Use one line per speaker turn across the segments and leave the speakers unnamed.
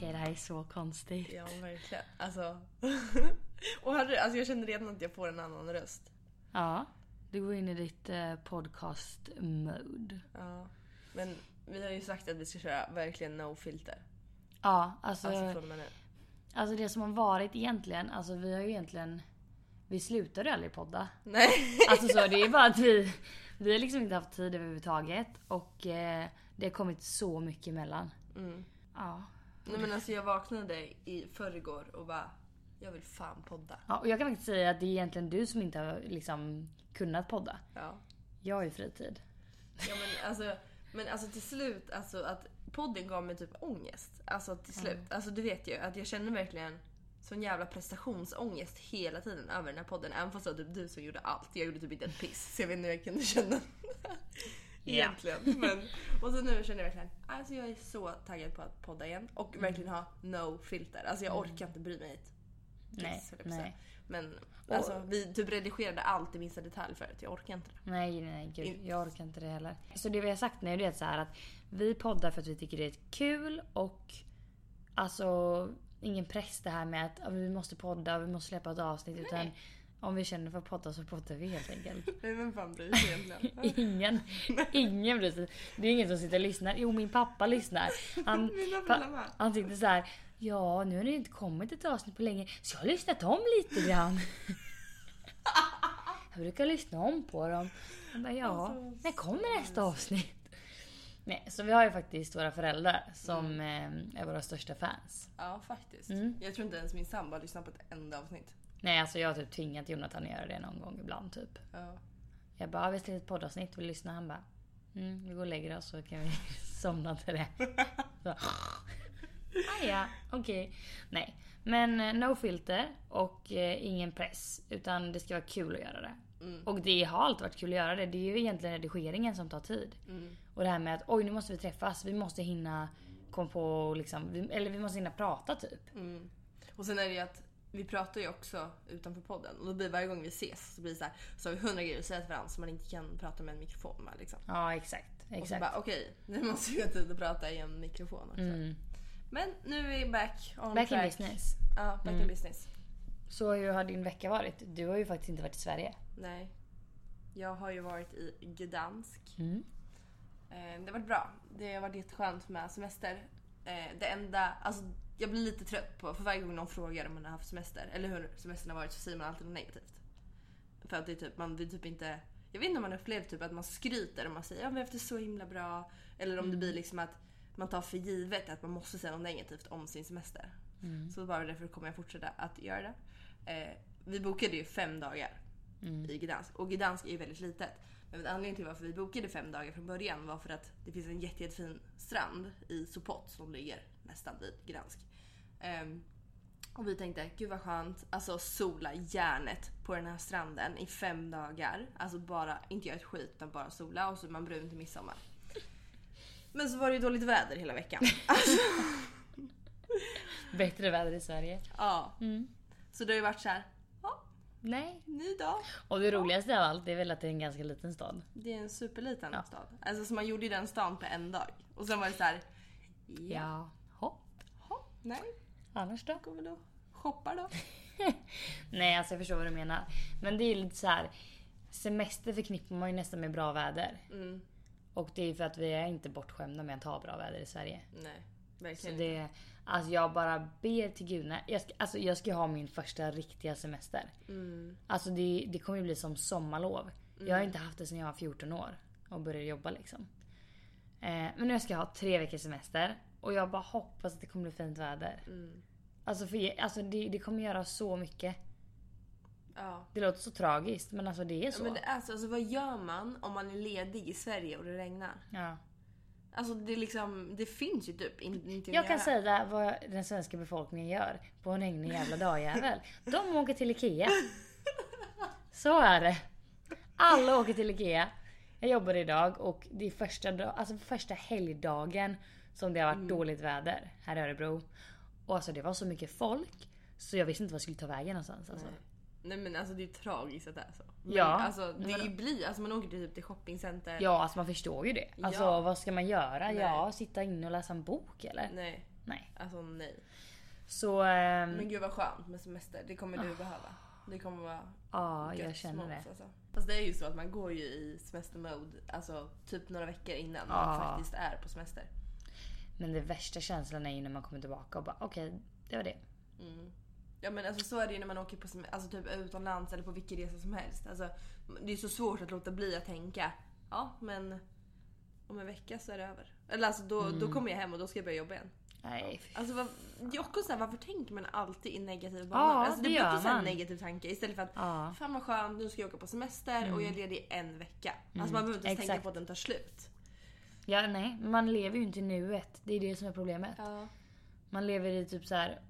är så konstigt.
Ja, verkligen. Alltså. och hörde, du, alltså jag känner redan att jag får en annan röst.
Ja. Du går in i ditt eh, podcast-mode.
Ja. Men vi har ju sagt att vi ska köra verkligen no filter.
Ja, alltså,
Alltså
alltså,
från och med nu.
det som har varit egentligen, alltså vi har ju egentligen... Vi slutade aldrig podda.
Nej.
Alltså så, det är bara att vi, vi har liksom inte haft tid överhuvudtaget. Och eh, det har kommit så mycket emellan.
Mm.
Ja.
Nej men alltså jag vaknade i förrgår och bara, jag vill fan podda.
ja. Och jag kan faktiskt säga att det är egentligen du som inte har liksom kunnat podda.
Ja.
Jag har ju fritid.
Ja men alltså, men alltså till slut, alltså att podden gav mig typ ångest. Alltså till slut. Alltså du vet ju att jag känner verkligen sån jävla prestationsångest hela tiden över den här podden. Även fast det var typ du som gjorde allt. Jag gjorde typ inte ett piss. Så jag vet inte hur jag kunde känna. Egentligen. Men, och så nu känner jag verkligen, alltså jag är så taggad på att podda igen. Och verkligen ha no filter. Alltså jag orkar inte bry mig ett piss,
Nej,
höll jag på att
nej.
säga. Men alltså, vi typ redigerade allt i minsta detalj förut. Jag orkar inte det.
Nej, nej, gud.
In-
Jag orkar inte det heller. Så det vi har sagt nu det är så här att vi poddar för att vi tycker det är kul och alltså ingen press det här med att ja, vi måste podda och vi måste släppa ett avsnitt. Utan om vi känner för att podda så poddar vi helt enkelt.
Men vem fan bryr sig egentligen?
Ingen, ingen bryr sig. Det är ingen som sitter och lyssnar. Jo, min pappa lyssnar. Han,
Mina
pa-
föräldrar bara.
han tyckte så här. Ja, nu har det inte kommit ett avsnitt på länge så jag har lyssnat om lite grann. Jag brukar lyssna om på dem. Jag bara, ja, när kommer nästa avsnitt? Nej, så vi har ju faktiskt våra föräldrar som eh, är våra största fans.
Ja, faktiskt.
Mm.
Jag tror inte ens min sambo har lyssnat på ett enda avsnitt.
Nej, alltså jag har typ tvingat Jonathan att göra det någon gång ibland typ.
Ja.
Jag bara, "Ja, vi släpper ett poddavsnitt, vill du lyssna? Han bara, mm, vi går och lägger oss så kan vi somna till det. Så, ah, ja, okej. Nej, men eh, no filter och eh, ingen press. Utan det ska vara kul att göra det.
Mm.
Och det har alltid varit kul att göra det. Det är ju egentligen redigeringen som tar tid.
Mm.
Och det här med att oj nu måste vi träffas, vi måste hinna komma på liksom, vi, eller vi måste hinna prata typ.
Mm. Och sen är det ju att vi pratar ju också utanför podden och då blir varje gång vi ses så blir det så här, så har vi hundra grejer att säga till varandra som man inte kan prata med en mikrofon med. Liksom.
Ja exakt.
Och så
exakt.
bara okej, nu måste vi ha tid att prata i en mikrofon också. Men nu är vi back on
Mm. Back in
track.
business. Mm.
Ja, back in business.
Så hur har din vecka varit? Du har ju faktiskt inte varit i Sverige.
Nej. Jag har ju varit i Gdansk.
Mm.
Eh, Det har varit bra. Det har varit jätteskönt med semester. Eh, Det enda, alltså jag blir lite trött på, för varje gång någon frågar om man har haft semester eller hur semestern har varit så säger man alltid något negativt. För att det är typ, man vill typ inte, jag vet inte om man upplever typ att man skryter om man säger ja vi har haft det så himla bra. Eller om det blir liksom att man tar för givet att man måste säga något negativt om sin semester.
Mm.
Så bara därför kommer jag fortsätta att göra det. Eh, vi bokade ju fem dagar i Gdansk. Och Gdansk är ju väldigt litet. Men anledningen till varför vi bokade fem dagar från början var för att det finns en jätte, jättefin strand i Sopot som ligger nästan vid Gdansk. Ehm, och vi tänkte, gud vad skönt, alltså sola järnet på den här stranden i fem dagar. Alltså bara, inte göra ett skit utan bara sola och så är man brun till midsommar. Men så var det ju dåligt väder hela veckan.
Bättre väder i Sverige.
ja. Så det har ju varit så här, ja,
Nej.
ny dag.
Och det roligaste av allt är väl att det är en ganska liten stad.
Det är en superliten
Ja.
stad. Alltså så man gjorde ju den stan på en dag. Och sen var det så här. Ja.
Jaha.
Jaha, nej.
Annars då?
Går väl och shoppar då.
Nej, alltså jag förstår vad du menar. Men det är ju lite så här. Semester förknippar man ju nästan med bra väder.
Mm.
Och det är ju för att vi är inte bortskämda med att ha bra väder i Sverige.
Nej,
Så
verkligen
det, alltså jag bara ber till gudarna. Jag ska, alltså jag ska ha min första riktiga semester.
Mm.
Alltså det, det kommer ju bli som sommarlov. Jag har inte haft det sedan jag var 14 år och började jobba liksom. Eh, men nu ska jag ha tre veckors semester och jag bara hoppas att det kommer bli fint väder.
Mm.
Alltså, för, er- alltså det, det kommer göra så mycket.
Ja.
Det låter så tragiskt men alltså det är så. Ja,
Men det, alltså, alltså vad gör man om man är ledig i Sverige och det regnar? Alltså det är liksom, det finns ju typ in- inte att
Jag kan
göra.
säga vad den svenska befolkningen gör på en regnig jävla dagjävel. De åker till IKEA. Så är det. Alla åker till IKEA. Jag jobbar idag och det är första, dag- alltså första helgdagen som det har
Mm.
varit dåligt väder här i Örebro. Och alltså det var så mycket folk så jag visste inte vad jag skulle ta vägen någonstans. Alltså.
Nej men alltså det är ju tragiskt att det är så. Men,
Ja.
Alltså det
Men-
är ju blir, alltså man åker till typ till shoppingcenter.
Ja alltså man förstår ju det. Alltså
Ja.
vad ska man göra?
Nej. Mm.
Ja, sitta inne och läsa en bok eller?
Nej.
Nej.
Alltså nej.
Så ehm,
Men gud vad skönt med semester. Det kommer du behöva. Det kommer vara
ja,
gött
jag känner
smås,
det.
Alltså. Fast det är ju så att man går ju i semestermode alltså typ några veckor innan man
Ja.
faktiskt är på semester.
Men det värsta känslan är ju när man kommer tillbaka och bara okej, det var det.
Mm. Ja men alltså så är det ju när man åker på sem- alltså, typ utomlands eller på vilken resa som helst. Alltså, det är så svårt att låta bli att tänka. Ja men om en vecka så är det över. Eller alltså då,
Mm.
då kommer jag hem och då ska jag börja jobba igen.
Nej, fy-
Alltså vad, det är också så här, varför tänker man alltid i negativ bana?
Ja,
alltså,
det
blir
gör
också så här
man.
en negativ tanke istället för att
ja. Mm.
Fan vad skönt, nu ska jag åka på semester och jag är ledig en vecka. Alltså man behöver inte ens tänka
exakt.
på att den tar slut.
ja, nej, man lever ju inte i nuet. Det är det som är problemet.
Ja.
Man lever i typ så här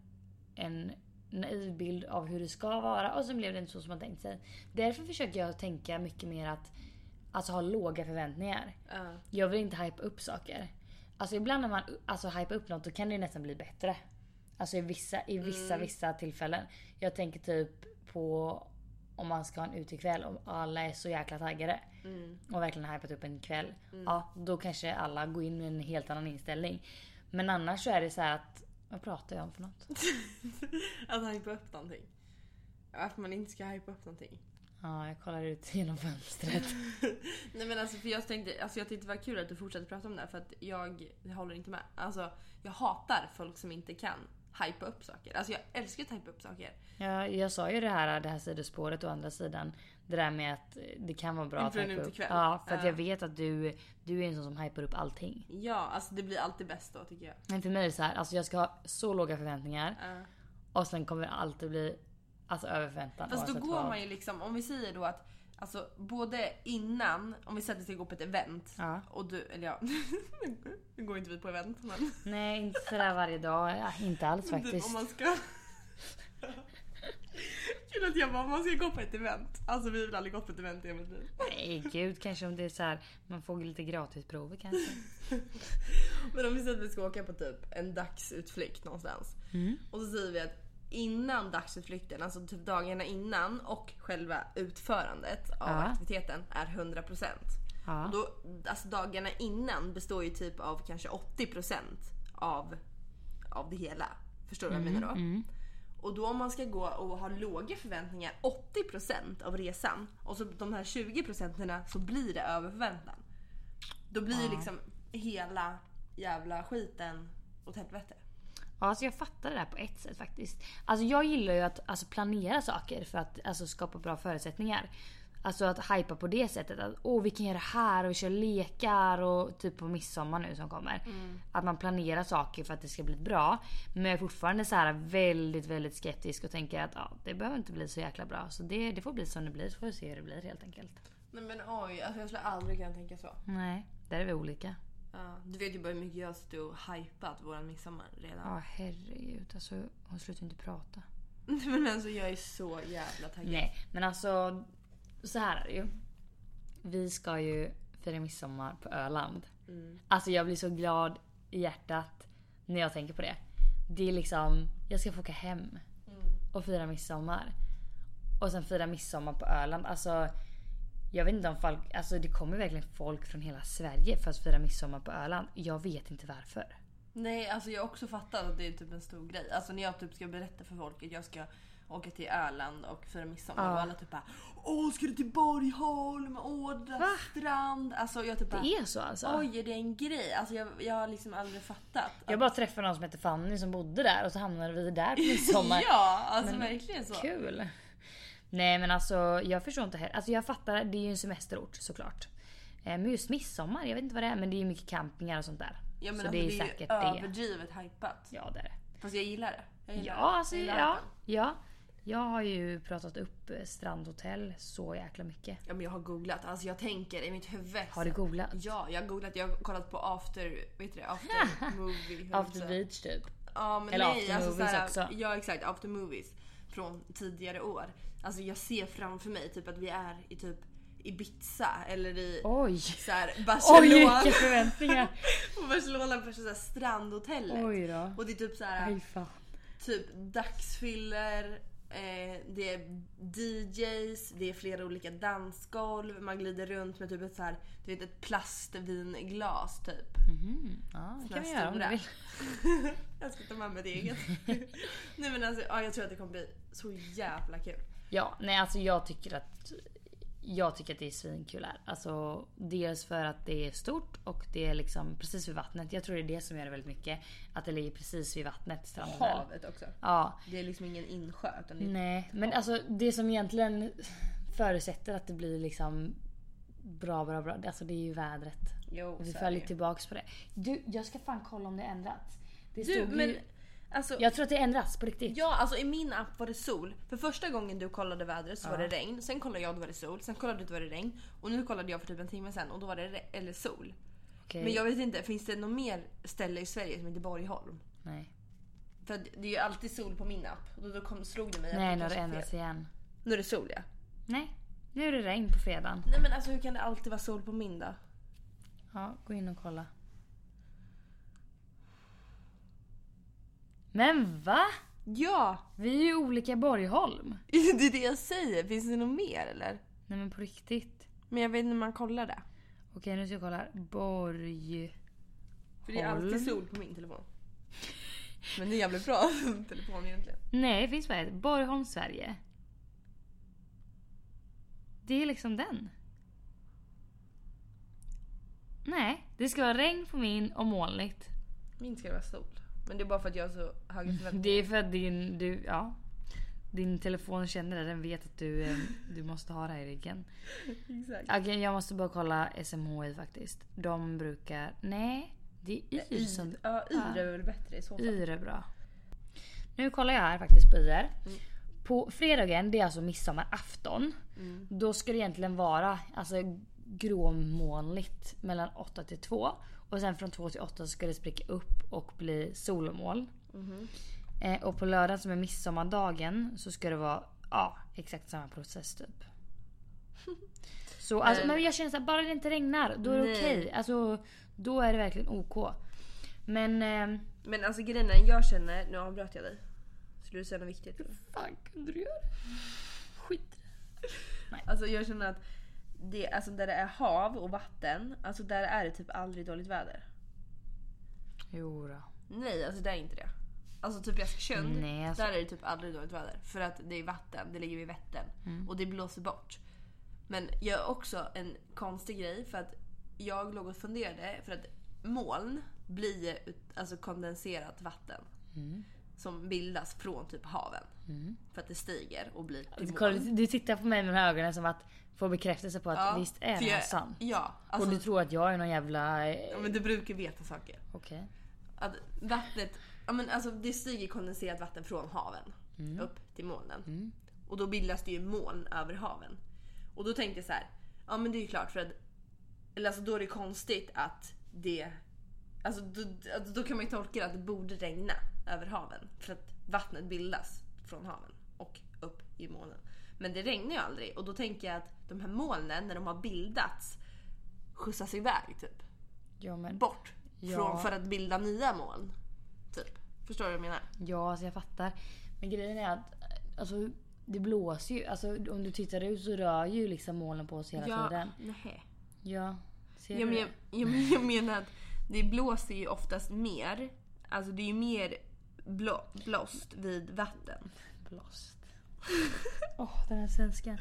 en naiv bild av hur det ska vara och så blev det inte så som man tänkt sig. Därför försöker jag tänka mycket mer att alltså, ha låga förväntningar.
Ja.
Jag vill inte hypa upp saker. Alltså ibland när man alltså, hypar upp något då kan det ju nästan bli bättre. Alltså i vissa, i vissa, vissa tillfällen. Jag tänker typ på om man ska ha en utekväll och alla är så jäkla taggade. Och verkligen hypat upp en kväll. Ja, då kanske alla går in med en helt annan inställning. Men annars så är det så här att, vad pratar jag om för något?
Att hypa upp någonting. Att man inte ska hypa upp någonting.
Ja, jag kollar ut genom fönstret.
Nej men alltså för jag tänkte, alltså jag tyckte det var kul att du fortsatte prata om det här för att jag, jag håller inte med. Alltså jag hatar folk som inte kan hypa upp saker. Alltså jag älskar att hypa upp saker.
Ja, jag sa ju det här, det här sidospåret å andra sidan. Det där med att det kan vara bra
Inför en
hypa upp.
utekväll.
Ja, för att
Ja.
jag vet att du, du är en sån som hypar upp allting.
Ja, alltså det blir alltid bäst då tycker jag.
Men för mig är det så här, alltså jag ska ha så låga förväntningar
Ja.
och sen kommer det alltid bli alltså, över förväntan.
Fast då
oavsett
går
vad.
man ju liksom, om vi säger då att Alltså både innan, om vi säger att vi ska gå på ett event
Ja.
och du, eller ja, nu går inte vi på event men
Nej, inte sådär varje dag. Ja, inte alls
typ
faktiskt.
om man ska... Kul att jag bara, om man ska gå på ett event. Alltså vi har väl aldrig gått på ett event i hela mitt liv.
Nej, gud. Kanske om det är så här, man får lite gratisprover kanske.
Men om vi säger att vi ska åka på typ en dagsutflykt någonstans. Och så säger vi att innan dagsutflykten, alltså typ dagarna innan och själva utförandet av
Ja.
aktiviteten är 100%.
Ja.
Och då, alltså dagarna innan består ju typ av kanske 80% av, av det hela. Förstår du vad jag menar då? Och då om man ska gå och ha låga förväntningar 80% av resan och så de här 20% så blir det över förväntan. Då blir ju liksom hela jävla skiten åt helvete.
Ja, alltså jag fattar det där på ett sätt faktiskt. Alltså jag gillar ju att alltså, planera saker för att alltså, skapa bra förutsättningar. Alltså att hypa på det sättet. Att åh vi kan göra det här och vi kör lekar och typ på midsommar nu som kommer. Att man planerar saker för att det ska bli bra. Men jag är fortfarande så här väldigt, väldigt skeptisk och tänker att ja, det behöver inte bli så jäkla bra. Så det, det får bli som det blir så får vi se hur det blir helt enkelt.
Nej men oj, alltså jag skulle aldrig kunna tänka så.
Nej, där är vi olika.
Ja, du vet ju bara hur mycket jag har suttit och hypat våran midsommar redan.
Ja herregud alltså hon slutar inte prata.
men alltså jag är så jävla taggad.
Nej, men alltså så här är det ju. Vi ska ju fira midsommar på Öland. Alltså jag blir så glad i hjärtat när jag tänker på det. Det är liksom, jag ska få åka hem och fira midsommar. Och sen fira midsommar på Öland. Alltså jag vet inte om folk, alltså det kommer verkligen folk från hela Sverige för att fira midsommar på Öland. Jag vet inte varför.
Nej, alltså jag har också fattat att det är typ en stor grej. Alltså när jag typ ska berätta för folk att jag ska åka till Öland och fira midsommar
Ja.
och alla typ bara Åh, ska du till Borgholm? Åh, det där
Va?
strand. Alltså jag typ bara
Det är så alltså.
Oj, är det en grej? Alltså jag, jag har liksom aldrig fattat.
Jag bara träffade någon som hette Fanny som bodde där och så hamnade vi där på midsommar.
ja, alltså verkligen så.
Kul! Nej men alltså jag förstår inte heller. Alltså jag fattar, det är ju en semesterort såklart. Eh, Men just midsommar, jag vet inte vad det är men det är ju mycket campingar och sånt där.
Ja, men
så
alltså,
det är
ju
säkert det.
överdrivet hypat.
Ja det är det.
Fast jag gillar det. Jag gillar
Ja
det.
alltså
jag gillar
ja,
hypen.
ja. Jag har ju pratat upp eh, strandhotell så jäkla mycket.
Ja men jag har googlat, alltså jag tänker i mitt huvud.
Har du googlat?
Ja, jag har googlat, jag har kollat på after, vet du det? After movie.
After beach typ.
Ja men
Eller
nej,
after
alltså
movies
såhär,
också.
Ja exakt, after movies. Från tidigare år. Alltså jag ser framför mig typ att vi är i typ Ibiza eller i
Oj!
såhär
Oj
Barcelona.
vilka förväntningar!
på Barcelona på såhär strandhotellet.
Oj då.
Och det är typ såhär
Aj fan.
typ dagsfyller, Eh, det är DJs, det är flera olika dansgolv, man glider runt med typ ett, så här, du vet, ett plastvinglas typ.
Mhm. Ja, det kan vi göra om du
stora.
vill.
jag ska ta med mig ett eget. Nej men alltså ja, jag tror att det kommer bli så jävla kul.
Ja, nej alltså jag tycker att jag tycker att det är svinkul här. Alltså, dels för att det är stort och det är liksom precis vid vattnet. Jag tror det är det som gör det väldigt mycket. Att det ligger precis vid vattnet. stranden där.
Havet också.
Ja.
Det är liksom ingen insjö utan det är
Nej, men alltså det som egentligen förutsätter att det blir liksom bra, bra, bra. Alltså det är ju vädret.
Jo,
Vi
så är
följer
det ju.
tillbaks på det. Du, jag ska fan kolla om det ändrats. Det
Du
stod ju-
men alltså.
Jag tror att det ändras på riktigt.
Ja alltså i min app var det sol. För första gången du kollade vädret så var det regn. Sen kollade jag då var det sol. Sen kollade du då var det regn. Och nu kollade jag för typ en timme sen och då var det re- eller sol.
Okej.
Men jag vet inte, finns det något mer ställe i Sverige som heter Borgholm?
Nej,
För att det är ju alltid sol på min app. Och då kom, slog det mig att
Nej
det
nu har det
kanske är
ändrats
fel.
igen.
Nu är det sol ja.
Nej, nu är det regn på fredagen.
Nej men alltså hur kan det alltid vara sol på min då?
Ja, gå in och kolla. Men va?
Ja!
Vi är ju olika i Borgholm.
Det är det jag säger. Finns det något mer eller?
Nej men på riktigt.
Men jag vet inte när man kollar det.
Okej nu ska jag kolla här. Borg...
För det är
Holm.
alltid sol på min telefon. Men det är jävligt bra telefon egentligen.
Nej det finns bara ett. Borgholm, Sverige. Det är liksom den. Nej, det ska vara regn på min och molnigt.
Min ska det vara sol. Men det är bara för att jag har så höga
Det
förväntningar.
är för att din, du, ja, din telefon känner det. Den vet att du, eh, du måste ha det här i ryggen.
Exakt.
Okej, jag måste bara kolla SMHI faktiskt. De brukar... Nej, det är YR som...
Ja, yr är väl bättre i så fall.
YR är bra. Nu kollar jag här faktiskt på YR.
Mm.
På fredagen, det är alltså midsommarafton.
Mm.
Då ska det egentligen vara alltså, gråmolnigt mellan 8 till 2. Och sen från 2 till 8 så ska det spricka upp och bli solmoln.
Mm-hmm.
Eh, och på lördagen som är midsommardagen så ska det vara ja, exakt samma process typ. Så, alltså, men jag känner såhär, bara det inte regnar då är det
Nej.
okej. Alltså, då är det verkligen OK. Men... Eh,
Men alltså grejen är, jag känner, nu avbröt jag dig. Skulle du säga något viktigt?
fan kunde du göra? Skit
Alltså jag känner att det, alltså där det är hav och vatten, alltså där är det typ aldrig dåligt väder.
Jo då.
Nej, alltså det är inte det. Alltså typ i Askersund,
Nej, alltså-
där är det typ aldrig dåligt väder. För att det är vatten, det ligger vid Vättern
Mm.
och det blåser bort. Men jag har också en konstig grej för att jag låg och funderade för att moln blir ut- alltså kondenserat vatten.
Mm.
Som bildas från typ haven. För att det stiger och blir till moln.
Kolla, du- du tittar på mig med de här ögonen som att få bekräftelse på att
Ja,
visst är
för
det här
jag-
sant.
Ja,
Och
alltså,
du tror att jag är någon jävla... eh,
ja, men du brukar veta saker.
Okej.
att vattnet, ja men alltså det stiger kondenserat vatten från haven upp till molnen. Och då bildas det ju moln över haven. Och då tänkte jag så här, ja men det är ju klart för att, eller alltså då är det konstigt att det, alltså då, alltså då kan man ju tolka det att det borde regna över haven. För att vattnet bildas från haven och upp i molnen. Men det regnar ju aldrig och då tänker jag att de här molnen när de har bildats skjutsas iväg typ
Ja men...
bort
Ja.
från för att bilda nya moln. Typ. Förstår du vad jag menar?
Ja, alltså jag fattar. Men grejen är att alltså, det blåser ju. Alltså, om du tittar ut så rör ju liksom molnen på sig hela tiden.
Nej.
Ja. Ser
Jag,
du
men,
det?
jag, jag, men- jag menar att det blåser ju oftast mer. Alltså det är ju mer blå, blåst vid vatten.
Blåst. Åh, den här svenskan.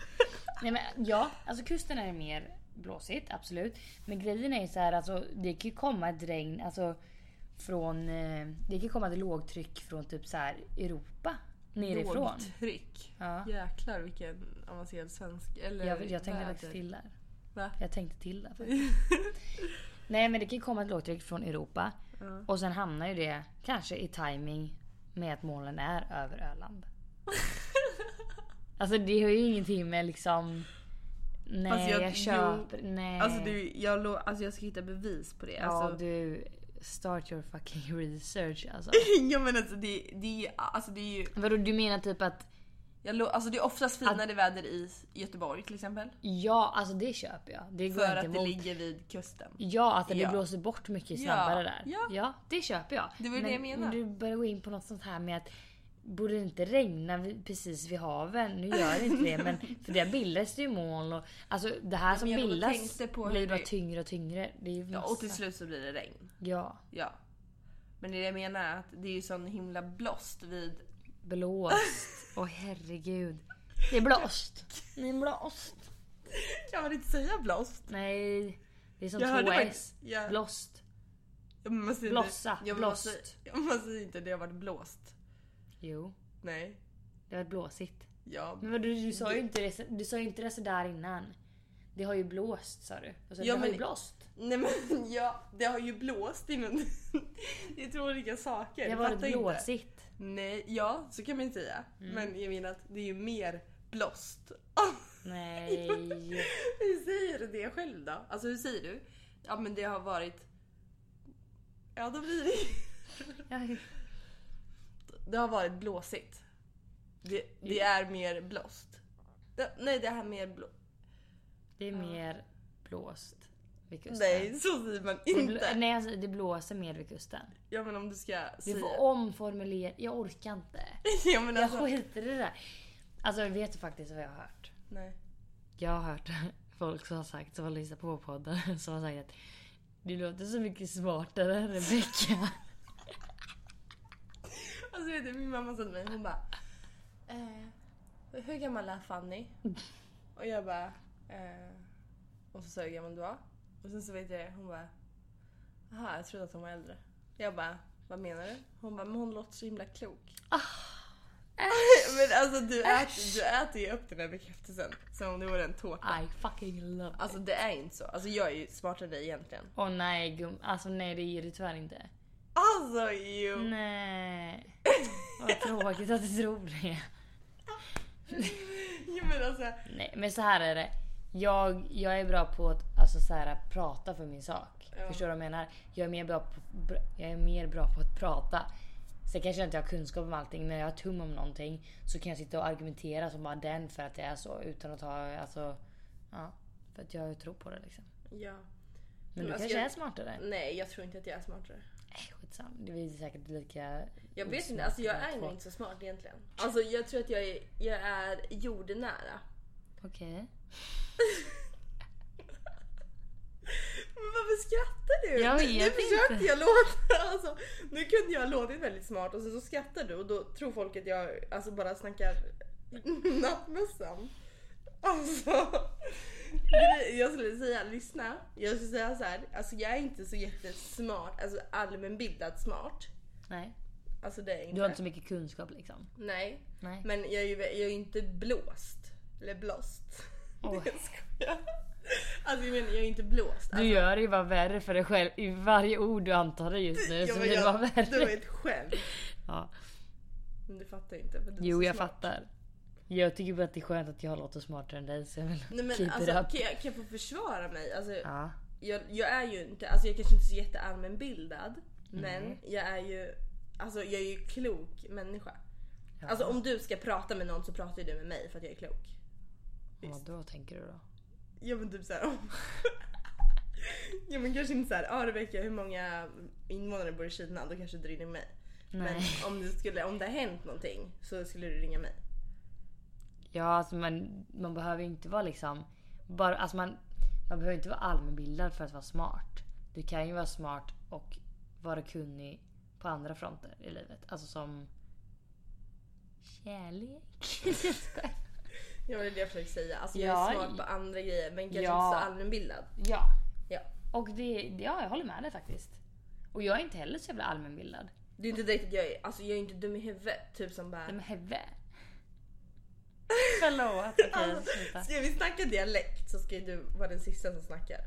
Nej, men, ja, alltså kusten är mer blåsigt, absolut. Men grejen är ju så här, alltså, det kan ju komma ett regn alltså, från... Eh, det kan ju komma ett lågtryck från typ så här Europa. Nerifrån.
Lågtryck.
Ja.
Jäklar vilken avancerad svensk... Eller
Jag, jag tänkte
väder.
faktiskt till där.
Va?
Jag tänkte till där faktiskt. Nej men det kan ju komma ett lågtryck från Europa. Och sen hamnar ju det kanske i timing med att molnen är över Öland. alltså det har ju ingenting med liksom... Nej
Fast
jag,
jag-
köper... Nej.
Alltså, du, jag, lo, alltså jag ska hitta bevis på det.
Ja
alltså,
du. Start your fucking research alltså.
ja, men alltså, det, det, är ju- alltså det är ju...
Vadå du menar typ att
Jag lo, alltså det är oftast finare väder i Göteborg till exempel.
ja alltså det köper jag. Det går
För
inte
att det
emot.
ligger vid kusten.
Ja, att det
Ja.
blåser bort mycket snabbare där.
ja.
ja, det köper jag.
Det var ju det jag menade.
Du börjar gå in på något sånt här med att Borde det inte regna vid- precis vid haven? Nu gör det inte det men för där bildas det ju moln och alltså det här
Ja,
som
men jag
bildas
tänkte på hur
blir bara
det-
tyngre och tyngre. Det är ju
Ja,
massa.
och till slut så blir det regn.
Ja,
Ja. Men det jag menar är att det är ju sån himla blåst vid...
blåst. Åh herregud. Det är blåst. Det är blåst.
Kan man inte säga blåst?
Nej. Det är som
Jag hörde
två s.
faktiskt- jag-
Blåst.
Man säger
Blossa,
Inte, ja, men
blåst.
Man säger, ja, man säger inte det har varit blåst.
Jo.
Nej.
Det var blåsigt.
Ja.
Men vadå, du sa ju inte det, så- du sa ju inte det sådär innan. Det har ju blåst sa du. Och så,
Ja,
det har ju
men-
blåst.
Nej men ja, det har ju blåst innan. det är två olika saker.
Det har
Jag
varit
fattar inte.
blåsigt.
Nej, ja så kan man ju säga. Men jag menar att det är ju mer blåst.
Nej.
hur säger du det själv då? Alltså hur säger du? Ja men det har varit... Ja då blir det
Jag-
Det har varit blåsigt. Det, det är mer blåst. Det, nej det här mer blå...
Det är mer blåst vid kusten.
Nej så säger man
Det, bl-
inte.
nej alltså, det blåser mer vid kusten.
Ja men om du ska
Du får
säga...
omformulera. Jag orkar inte.
Ja men
Jag
alltså...
skiter i det där. Alltså vet du faktiskt vad jag har hört?
Nej.
Jag har hört folk som har sagt, som har lyssnat på podden, som har sagt att du låter så mycket smartare än Rebecka.
Alltså vet du, min mamma sa till mig, hon bara eh, Hur gammal är Fanny? Och jag bara eh, Och så sa jag hur gammal du var. Och sen så vet jag det, hon bara Jaha, jag trodde att hon var äldre. Jag bara, vad menar du? Hon bara, men hon låter så himla klok. men alltså du äter, du äter ju upp den här bekräftelsen som om det vore en tårta.
I fucking love it.
Alltså det är inte så. Alltså jag är ju smartare än dig egentligen.
Åh nej gum, alltså nej det är det tyvärr inte.
Alltså jo!
Nej. Vad tråkigt att du tror det.
Jo men alltså.
Nej men så här är det. Jag, jag är bra på att alltså, så här, prata för min sak.
Ja.
Förstår du vad jag menar? Jag är, mer bra på, br- jag är mer bra på att prata. Sen kanske jag inte har kunskap om allting men jag har tum om någonting så kan jag sitta och argumentera som bara den för att det är så utan att ha alltså... Ja. För att jag tror på det liksom.
Ja.
Men du
alltså,
kanske
jag-
är smartare?
Nej jag tror inte att jag är smartare.
Nej skitsamma. Vi är säkert lika...
Jag vet inte,
osmarta
alltså jag
båda
är
två.
nog inte så smart egentligen. Alltså jag tror att jag är, jag är jordnära.
Okej.
Men varför skrattar du?
Jag
Nu- nu
vet
försökte
inte.
jag låta, alltså, nu kunde jag ha låtit väldigt smart och sen så skrattar du och då tror folk att jag alltså, bara snackar nattmössan. Alltså, gre- jag skulle säga, lyssna. Jag skulle säga så här, alltså jag är inte så jättesmart, alltså allmänbildad smart.
Nej.
Alltså det är jag inte.
Du har inte så mycket kunskap liksom.
Nej.
Nej.
Men jag är ju jag är ju inte blåst. Eller blåst.
Oj.
Jag skojar. Alltså jag menar, jag är inte blåst.
Du gör det ju bara värre för dig själv. I varje ord du antar dig just nu
Alltså, jag,
så blir det bara värre.
det var ett skämt.
Ja.
Men du fattar inte. för du är
Jo
så
jag
smart.
fattar. Jag tycker bara att det är skönt att jag låter smartare än dig så jag vill
Nej, men
keep
alltså,
it up.
kan, jag, kan jag få försvara mig? Alltså,
Ja.
jag, jag är ju inte, alltså jag kanske inte är så jätteallmänbildad.
Mm.
Men jag är ju, alltså jag är ju klok människa.
Ja.
Alltså om du ska prata med någon så pratar ju du med mig för att jag är klok.
Vad då tänker du då?
Ja men typ såhär om... ja men kanske inte såhär, ja Rebecka hur många invånare bor i Kina? Då kanske du ringer mig.
Nej.
Men om det, skulle, om det har hänt någonting så skulle du ringa mig.
Ja alltså man, man behöver ju inte vara liksom... Bara, alltså man, man behöver inte vara allmänbildad för att vara smart. Du kan ju vara smart och vara kunnig på andra fronter i livet. Alltså som... Kärlek. Jag skojar.
Ja det är det jag försöker säga. Alltså
Ja.
jag är smart på andra grejer men kanske
Ja.
inte så allmänbildad.
ja.
Ja.
Och det, det- ja, jag håller med dig faktiskt. Och jag är inte heller så jävla allmänbildad.
Det är inte direkt att jag är, alltså jag är inte dum i huvudet. Typ som bara...
Nej men Heve. Förlåt, okej
Alltså,
sluta.
ska vi snacka dialekt så ska ju du vara den sista som snackar.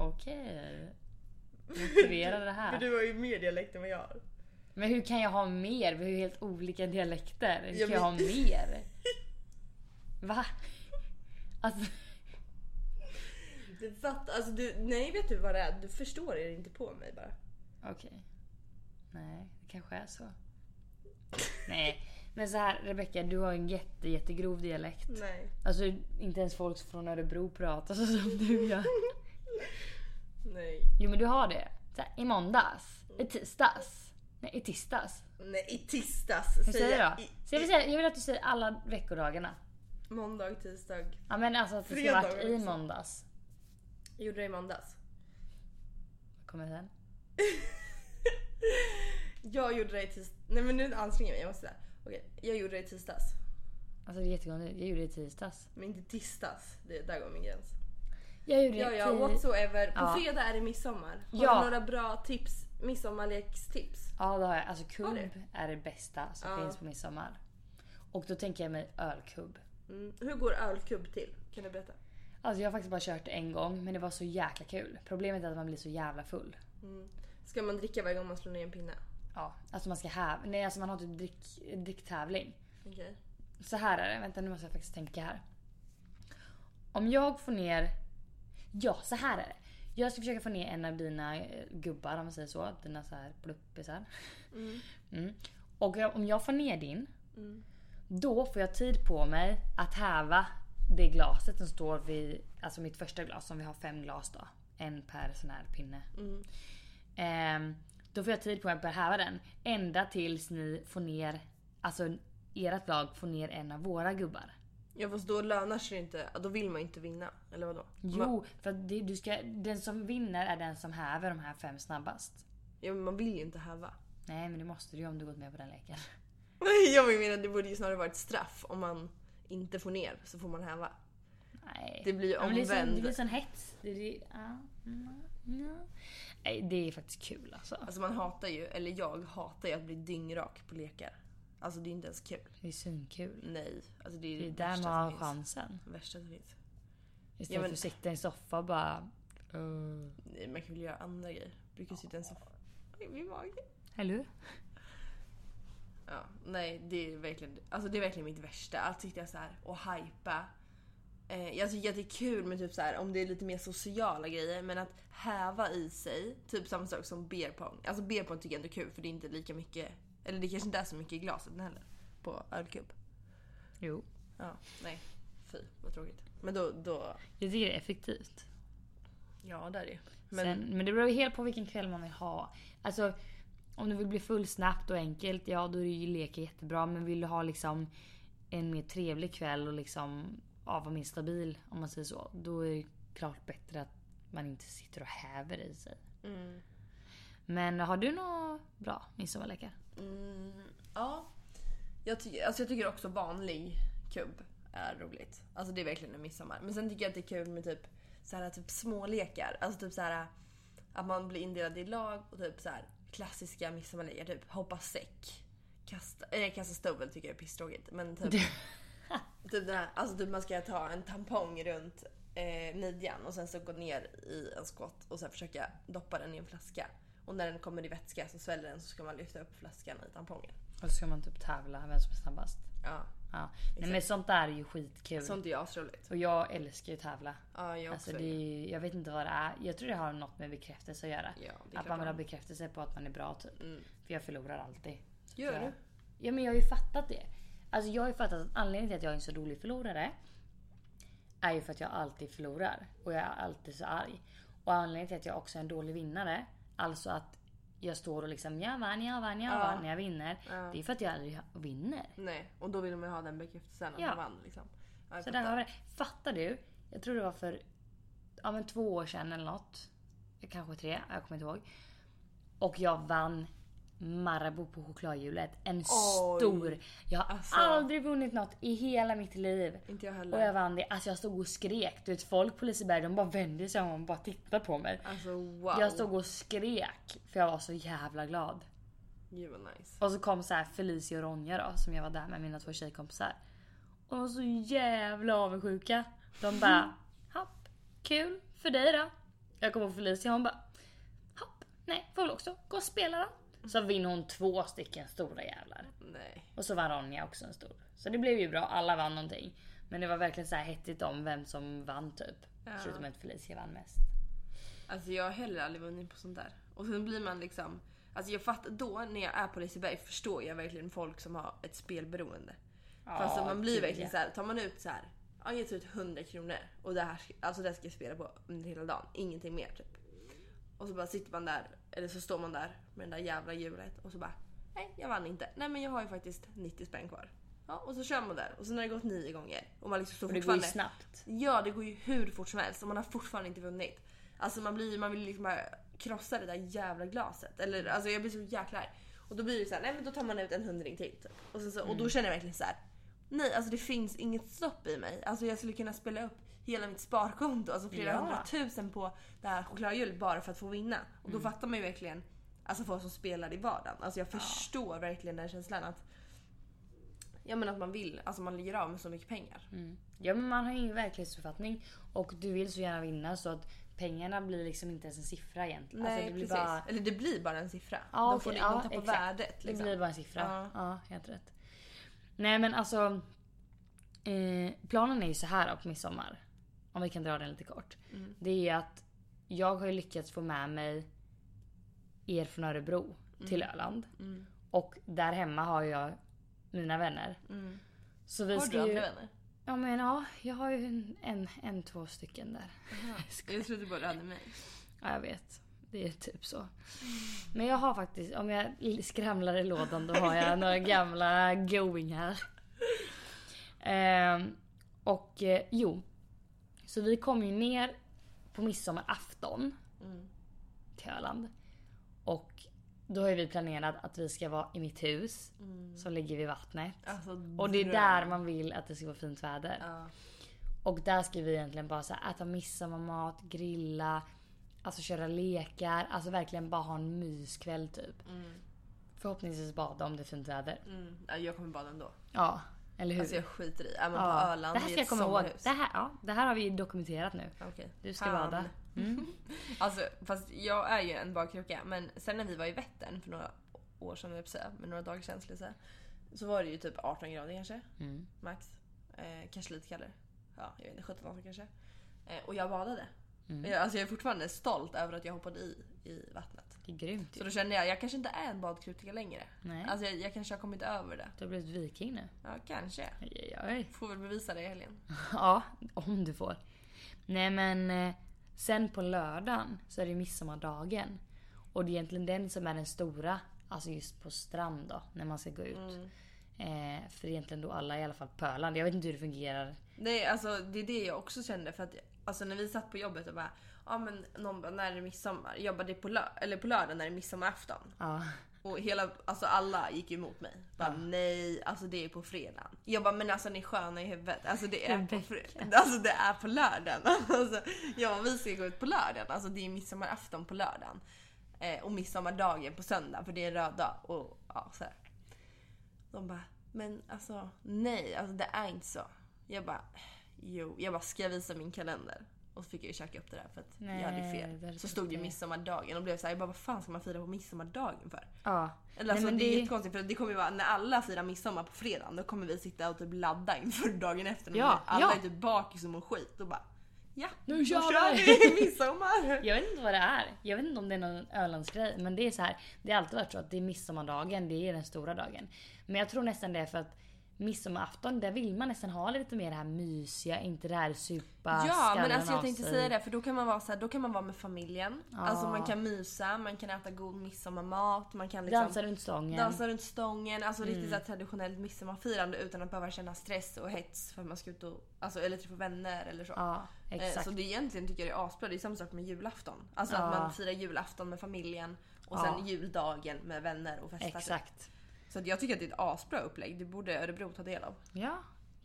Okej. Motivera det
För
här.
du har ju mer dialekt än vad jag har.
Men hur kan jag ha mer? Vi har ju helt olika dialekter. Hur
Ja,
kan jag ha
men-
mer? Va? Alltså,
Du fattar, alltså du, nej vet du vad det är? Du förstår er inte på mig bara.
okej. Nej, det kanske är så. Nej, men så här Rebecka, du har en jätte, jättegrov dialekt.
Nej.
Alltså inte ens folk från Örebro pratar så som du gör.
Nej.
Jo men du har det. Så här, I måndags, i tisdags, Nej, i tisdags.
Nej, i tisdags.
Hur säger jag?
i-
Så jag, vill säga, jag vill att du säger alla veckodagarna.
Måndag, tisdag.
Ja men alltså att det ska ha varit
Fredagar liksom.
i
också.
måndags.
Jag gjorde det i måndags.
Vad Kommer sen.
Jag gjorde det i tisdags. Nej men nu anstränger jag mig. Jag måste säga. Okej, jag gjorde det i tisdags.
Alltså det är jättekonstigt. Jag gjorde det i tisdags.
Men inte tisdags. Det, där går min gräns.
Jag gjorde
Ja,
det
ja,
i...
whatsoever. På
Ja.
fredag är det midsommar. Har
Ja.
du några bra tips? Midsommarlekstips?
Ja det har jag. Alltså
Har
kubb
du?
är det bästa som
Ja.
finns på midsommar. Och då tänker jag mig ölkubb.
Mm. Hur går ölkubb till? Kan du berätta?
Alltså jag har faktiskt bara kört det en gång men det var så jäkla kul. Problemet är att man blir så jävla full.
Mm. Ska man dricka varje gång man slår ner en pinne?
Ja, alltså man ska häva. Nej alltså man har typ drick, dricktävling.
Okej.
Så här är det. Vänta nu måste jag faktiskt tänka här. Om jag får ner... Ja, så här är det. Jag ska försöka få ner en av dina eh, gubbar om man säger så. Dina så här pluppisar.
Mm.
Mm. Och jag- om jag får ner din.
Mm.
Då får jag tid på mig att häva det glaset som står vid... Alltså mitt första glas som vi har fem glas då. En per sån här pinne.
Mm.
Ehm, då får jag tid på mig att börja häva den. Ända tills ni får ner... Alltså ert lag får ner en av våra gubbar.
Ja fast då lönar sig det inte. Då vill man ju inte vinna. Eller vadå? Man,
Jo, för att det, du ska, den som vinner är den som häver de här fem snabbast.
ja, men man vill ju inte häva.
Nej men det måste du ju om du gått med på den leken.
Jag menar det borde ju snarare vara ett straff. Om man inte får ner så får man häva.
Nej.
Det blir ju
Ja, men det, blir sån, det
omvänd.
blir sån hets. Det, det, ja, mm, ja. Nej, det är faktiskt kul alltså.
Alltså man hatar ju, eller jag hatar ju att bli dyngrak på lekar. Alltså det är ju inte ens kul.
Det är svinkul.
Nej. Alltså det är ju
Det är
det
där
värsta
man har
som finns.
chansen.
Värsta som finns.
Istället
Ja,
för
men- Mm.
att sitta i en soffa och bara... Uh,
Nej, man kan väl göra andra grejer. Brukar sitta i en soffa. Oj, min mage.
hello?
Ja, nej det är verkligen, alltså det är verkligen mitt värsta. Att sitta så här och hypa. Eh, jag tycker att det är kul med typ så här, om det är lite mer sociala grejer men att häva i sig, typ samma sak som beer pong. Alltså beer pong tycker jag ändå är kul för det är inte lika mycket, eller det kanske inte är så mycket i glaset heller. På ölkubb.
Jo.
Ja, nej. Fy vad tråkigt. Men då, då
Jag tycker det är effektivt.
ja där är det.
Men,
Men
Sen, men det beror ju helt på vilken kväll man vill ha. Alltså, om du vill bli full snabbt och enkelt, ja då är ju leken jättebra. Men vill du ha liksom en mer trevlig kväll och liksom ja, vara mer stabil, om man säger så. Då är det klart bättre att man inte sitter och häver i sig.
mm,
Men har du några bra midsommarlekar?
mm, ja. Jag, ty- alltså jag tycker också vanlig kubb är roligt. Alltså det är verkligen en midsommar. Men sen tycker jag att det är kul med typ, så här, typ smålekar. Alltså typ så här att man blir indelad i lag och typ så här klassiska midsommarlekar. Typ hoppa säck. Kasta, äh, kasta stövel tycker jag är pisstråkigt. Men typ, typ, den här, alltså typ man ska ta en tampong runt eh, midjan och sen så gå ner i en skott och sen försöka doppa den i en flaska. Och när den kommer i vätska så sväller den så ska man lyfta upp flaskan i tampongen.
Och så ska man typ tävla vem som är snabbast.
Ja,
Ja. Nej, men sånt där är ju skitkul.
sånt är ju asroligt.
Och jag älskar ju att tävla.
Ja, jag
Alltså,
också.
det är, ju- jag vet inte vad det är. Jag tror det har något med bekräftelse att göra.
Ja, det är
Att
klart Mm.
man vill ha
man-
bekräftelse på att man är bra typ. För jag förlorar alltid. Så att
Gör
jag...
du?
Ja men jag har ju fattat det. Alltså jag har ju fattat att anledningen till att jag är en så rolig förlorare är ju för att jag alltid förlorar. Och jag är alltid så arg. Och anledningen till att jag också är en dålig vinnare, alltså att jag står och liksom jag vann, jag vann, jag
Ja.
vann när jag vinner.
Ja.
Det är för att jag aldrig vinner.
Nej, och då vill man ju ha den bekräftelsen att
Ja.
man vann liksom. Ja, jag
Så där
fattar.
har vi det. Fattar du? Jag tror det var för ja, men två år sedan eller något. Kanske tre, jag kommer inte ihåg. Och jag vann Marabou på chokladhjulet. En stor. Jag har
Alltså.
aldrig vunnit något i hela mitt liv.
Inte jag
Och
heller.
jag vann det. Alltså jag stod och skrek. Du vet folk på Liseberg de bara vände sig om och bara tittade på mig.
Alltså wow.
Jag stod och skrek för jag var så jävla glad.
Gud vad nice.
Och så kom så här Felicia och Ronja då, som jag var där med mina två tjejkompisar. Och de var så jävla avundsjuka. De bara, hopp, kul för dig då. Jag kom på Felicia hon bara, hopp, nej får väl också gå och spela då. Så vinner hon två stycken stora jävlar.
Nej.
Och så vann Ronja också en stor. Så det blev ju bra, alla vann någonting. Men det var verkligen så här hettigt om vem som vann typ.
Ja.
Förutom att Felicia vann mest.
Alltså jag har heller aldrig vunnit på sånt där. Och sen blir man liksom... Alltså jag fattar då när jag är på Liseberg förstår jag verkligen folk som har ett spelberoende. För alltså
Ja,
man blir
gud,
verkligen
ja.
så här, tar man ut så här, ja jag tar ut 100 kronor och det här, ska- alltså det här ska jag spela på under hela dagen, ingenting mer typ. Och så bara sitter man där, eller så står man där med den där jävla hjulet och så bara Nej, jag vann inte. Nej men jag har ju faktiskt 90 spänn kvar. Ja, och så kör man där och sen har det gått nio gånger. Och man liksom står
För det går ju
fortfarande...
snabbt.
Ja, det går ju hur fort som helst och man har fortfarande inte vunnit. Alltså man, blir, man vill liksom bara krossa det där jävla glaset. Eller, alltså jag blir så jäkla arg. Och då blir det så här, nej men då tar man ut en hundring till. Typ. Och, sen så, och då känner jag verkligen så här. nej alltså det finns inget stopp i mig. Alltså jag skulle kunna spela upp hela mitt sparkonto, alltså flera
Ja.
hundratusen på det här chokladhjulet bara för att få vinna. Och då fattar man ju verkligen alltså folk som spelar i vardagen. Alltså jag förstår verkligen den känslan att Ja men att man vill, alltså man ligger av med så mycket pengar.
Mm. Ja men man har ju ingen verklighetsuppfattning och du vill så gärna vinna så att pengarna blir liksom inte ens en siffra egentligen.
Nej
alltså det blir
precis.
bara
Eller det blir bara en siffra.
Ja,
de
okej,
får,
ja,
de tappar
exakt.
värdet. Liksom.
Det blir bara en siffra.
Ja.
Ja, helt rätt. Nej men alltså. Eh, planen är ju så här på midsommar. Om vi kan dra den lite kort.
Mm.
Det är ju att jag har ju lyckats få med mig er från Örebro
Mm,
till Öland. Och där hemma har jag mina vänner.
Mm.
Så vi
Har
ska
du
ju...
andra vänner?
Ja men ja, jag har ju en, en, en två stycken där.
Jag trodde bara du hade mig.
Ja, jag vet. Det är typ så. Men jag har faktiskt, om jag skramlar i lådan då har jag några gamla goingar. Ehm, och eh, jo. Så vi kom ju ner på midsommarafton
Mm.
till Öland. Och då har ju vi planerat att vi ska vara i mitt hus som ligger vid vattnet.
Alltså,
Och det är
dröm.
där man vill att det ska vara fint väder.
Ja.
Och där ska vi egentligen bara så här, äta midsommarmat, grilla, alltså köra lekar. Alltså verkligen bara ha en myskväll typ.
Mm.
Förhoppningsvis bada om det är fint väder.
Mm. Ja, jag kommer bada ändå.
Ja, eller hur?
Alltså jag skiter i. Är man
ja.
på Öland
det här ska
i ett
jag komma ihåg.
sommarhus.
Det här, ja, det här har vi ju dokumenterat nu.
Okej.
Du ska
Fan.
bada. Mm.
Alltså fast jag är ju en badkruka men sen när vi var i Vättern för några år sedan, jag säga, men några dagar sedan skulle jag säga. Så var det ju typ 18 grader kanske.
Mm.
Max. Eh, kanske lite kallare. Ja, jag vet inte, 17 18 kanske. Eh, och jag badade.
Mm.
Jag, alltså jag är fortfarande stolt över att jag hoppade i, i vattnet.
Det är grymt
Så
ju.
då kände jag, jag kanske inte är en badkrutika längre.
Nej,
Alltså jag, jag kanske har kommit över det.
du har blivit viking nu.
Ja, kanske.
Oj, oj, oj.
Får väl bevisa det i helgen.
Ja, om du får. Nej men eh, sen på lördagen så är det ju midsommardagen. Och det är egentligen den som är den stora, alltså just på strand då, när man ska gå ut.
Mm.
Eh, för det är egentligen då alla i alla fall på Öland. Jag vet inte hur det fungerar.
Nej, alltså det är det jag också kände för att alltså, när vi satt på jobbet och bara Ja men någon bara, när är det midsommar? Jag bara, det är på, lö- eller på lördag när det är midsommarafton.
Ja.
Och hela, alltså alla gick ju emot mig. Bara, Nej, alltså det är på fredagen. Jag bara, men alltså ni är sköna i huvudet. Alltså det är, på, fre- alltså, det är på lördagen. Alltså, jag bara, vi ska gå ut på lördagen. Alltså det är midsommarafton på lördagen. Eh, och midsommardagen på söndag för det är en röd dag. Och, ja, så här. De bara, men alltså nej, alltså det är inte så. Jag bara, jo. Jag bara, ska jag visa min kalender? Och så fick jag ju käka upp det där för att jag hade
Nej, det
fel.
hade
Så
du
stod det
fel.
midsommardagen och blev så här, jag bara, vad fan ska man fira på midsommardagen för?
ja.
Eller
Nej,
alltså,
men
det är
det-
jättekonstigt för det kommer ju vara när alla firar midsommar på fredagen då kommer vi sitta och typ ladda inför dagen efter. när
Ja,
alla
ja.
är typ bakis och mår skit och bara ja,
Nu
då
kör vi!
vi midsommar!
Jag vet inte vad det är. Jag vet inte om det är någon Ölandsgrej. Men det är så här. Det har alltid varit så att det är midsommardagen, det är den stora dagen. Men jag tror nästan det är för att midsommarafton, där vill man nästan ha lite mer det här mysiga, inte det här supa,
Ja men
skallen
alltså jag
av
tänkte
sig.
säga det för då kan man vara så här, då kan man vara med familjen.
Ja.
Alltså man kan mysa, man kan äta god midsommarmat, man kan liksom
Dansa runt stången. Mm.
dansa runt stången. Alltså riktigt så här traditionellt midsommarfirande utan att behöva känna stress och hets för att man ska ut och, alltså, eller träffa vänner eller så.
Ja,
Eh,
exakt.
Så det egentligen tycker jag det är asbra. Det är samma sak med julafton. Alltså
Ja.
att man firar julafton med familjen och
Ja.
sen juldagen med vänner och festar. typ.
Exakt.
Så att jag tycker att det är ett asbra upplägg. Det borde Örebro ta del av.
Ja.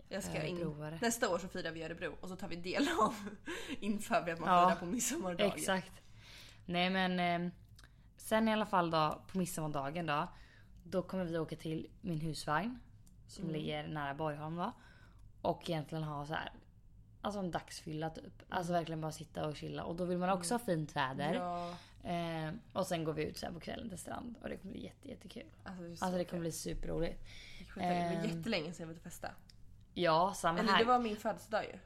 Jag ska in...
Örebroare.
Nästa år så firar vi i Örebro och så tar vi del av inför att man
Ja.
firar på midsommardagen.
Exakt. Nej men eh, sen i alla fall då på midsommardagen då. Då kommer vi åka till min husvagn. Som
Mm.
ligger nära Borgholm då. Och egentligen ha så här. Alltså en dagsfylla typ. Alltså verkligen bara sitta och chilla. Och då vill man också ha fint väder.
Mm. Ja,
Eh, och sen går vi ut sen på kvällen till strand. Och det kommer bli jätte, jättekul.
alltså det, är så
Alltså det
kul.
kommer bli superroligt.
Skit i det. det var
ehm,
jättelänge sedan jag var ute och festa.
Ja, samma
Eller
här.
det var min födelsedag ju.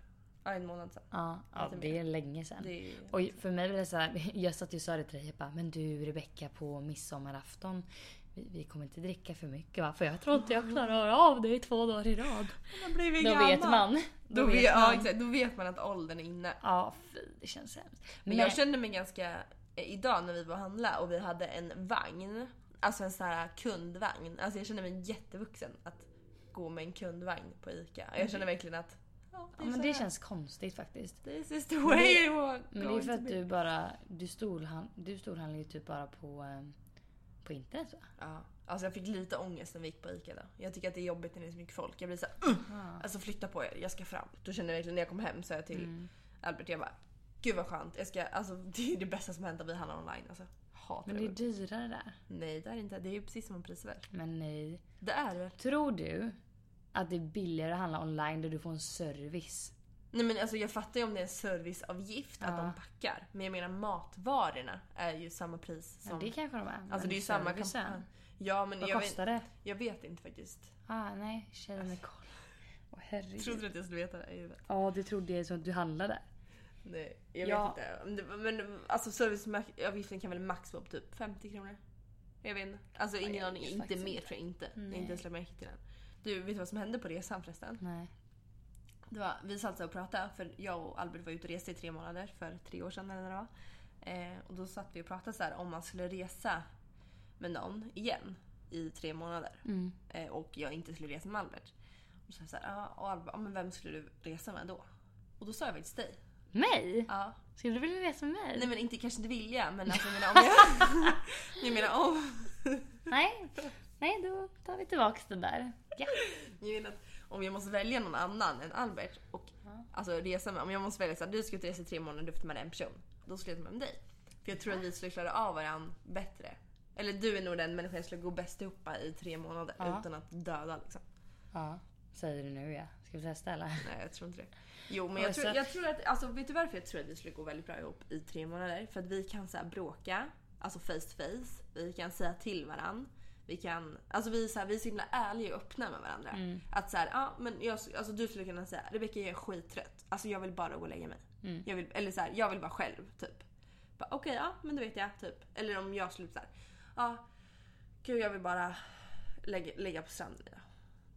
Ja, en månad sedan.
Ja, ja, det är länge sen.
Det är...
Och för mig blev det så här, jag satt ju och sa det till dig, jag bara, men du Rebecka på midsommarafton, vi, vi kommer inte dricka för mycket va? För jag tror inte jag klarar av det i två dagar i rad.
Man blir ju
Då
gammal.
vet man.
Då vet, ja, exakt, då vet man att åldern är inne.
Ja, fy det känns hemskt. Nej,
Men jag kände mig ganska eh, idag när vi var och handla och vi hade en vagn. Alltså en sån här kundvagn. Alltså jag känner mig jättevuxen att gå med en kundvagn på ICA. Jag känner verkligen att... Ja,
Ja,
är
men
så
det
här.
känns konstigt faktiskt.
This is the way
det-
it was
Men det är
going
för
to
att
be.
du bara... Du, storhan, du storhandlar ju typ bara på, eh, på internet va?
Ja. Alltså jag fick lite ångest när vi gick på ICA då. Jag tycker att det är jobbigt när det är så mycket folk. Jag blir såhär uh, alltså flytta på er, jag ska fram. Då känner jag verkligen när jag kom hem så jag
Mm.
till Albert, jag bara gud vad skönt. Jag ska, alltså, det är det bästa som hänt att vi handlar online. Alltså, hatar
Men
det.
det är dyrare där.
Nej det är det inte, det är ju precis som en prisvärd.
Men nej.
Det är det väl?
Tror du att det är billigare att handla online där du får en service?
Nej men alltså jag fattar ju om det är en serviceavgift att
Ja.
de packar. Men jag menar matvarorna är ju samma pris som...
Ja, det kanske de är.
alltså
men
det är ju samma
servicen,
kampanj. Ja men
Vad
jag vet,
kostar det?
jag vet inte faktiskt.
Ah, nej, tjejen med koll. Åh herregud.
Trodde du att jag skulle veta det här i huvudet?
Ja, det trodde jag som att du handlade där.
Nej, jag
Ja.
vet inte. Om det- Men alltså serviceavgiften kan väl max vara på typ 50 kronor? Jag vet inte. Alltså ingen
jag
aning.
vet
Inte
faktiskt
mer
inte.
tror jag inte. Jag har
Nej.
inte ens lagt märke till den. Du, vet du vad som hände på resan förresten?
Nej.
Det var, vi satt så och pratade för jag och Albert var ute och reste i tre månader för tre år sedan eller när det var. Eh, och då satt vi och pratade så här om man skulle resa med någon igen i tre månader
Mm.
eh, och jag inte skulle resa med Albert. Och så sa jag så här, ah, och Albert, ah, men vem skulle du resa med då? Och då sa jag faktiskt dig.
Mig?
Ja,
Skulle du vilja resa med mig?
Nej men inte, kanske inte vilja men alltså jag menar om jag... jag menar om...
Nej. Nej, då tar vi tillbaka den där. Ja.
Jag menar att om jag måste välja någon annan än Albert och
Ja.
alltså resa med. Om jag måste välja såhär, du ska ut och resa i tre månader, du får ta med en person. Då skulle jag ta med dig. För jag tror att vi skulle klara av varandra bättre. Eller du är nog den människan som skulle gå bäst ihop i tre månader
Ja.
utan att döda liksom.
ja. Säger du nu ja. Ska vi testa eller?
Nej jag tror inte det. Jo men
Men
jag tror,
så-
jag tror att, alltså vet du varför jag tror att vi skulle gå väldigt bra ihop i tre månader? För att vi kan så här bråka, alltså face to face. Vi kan säga till varandra. Vi kan, alltså vi är så, här, vi är så himla ärliga och öppna med varandra. Att så här, ja men jag, alltså du skulle kunna säga Rebecka jag är skittrött. Alltså jag vill bara gå och lägga mig. Jag vill, eller så här, jag vill vara själv typ. Bara, Okej ja men då vet jag typ. Eller om jag skulle så här, ja gud jag vill bara lägga, lägga på stranden idag.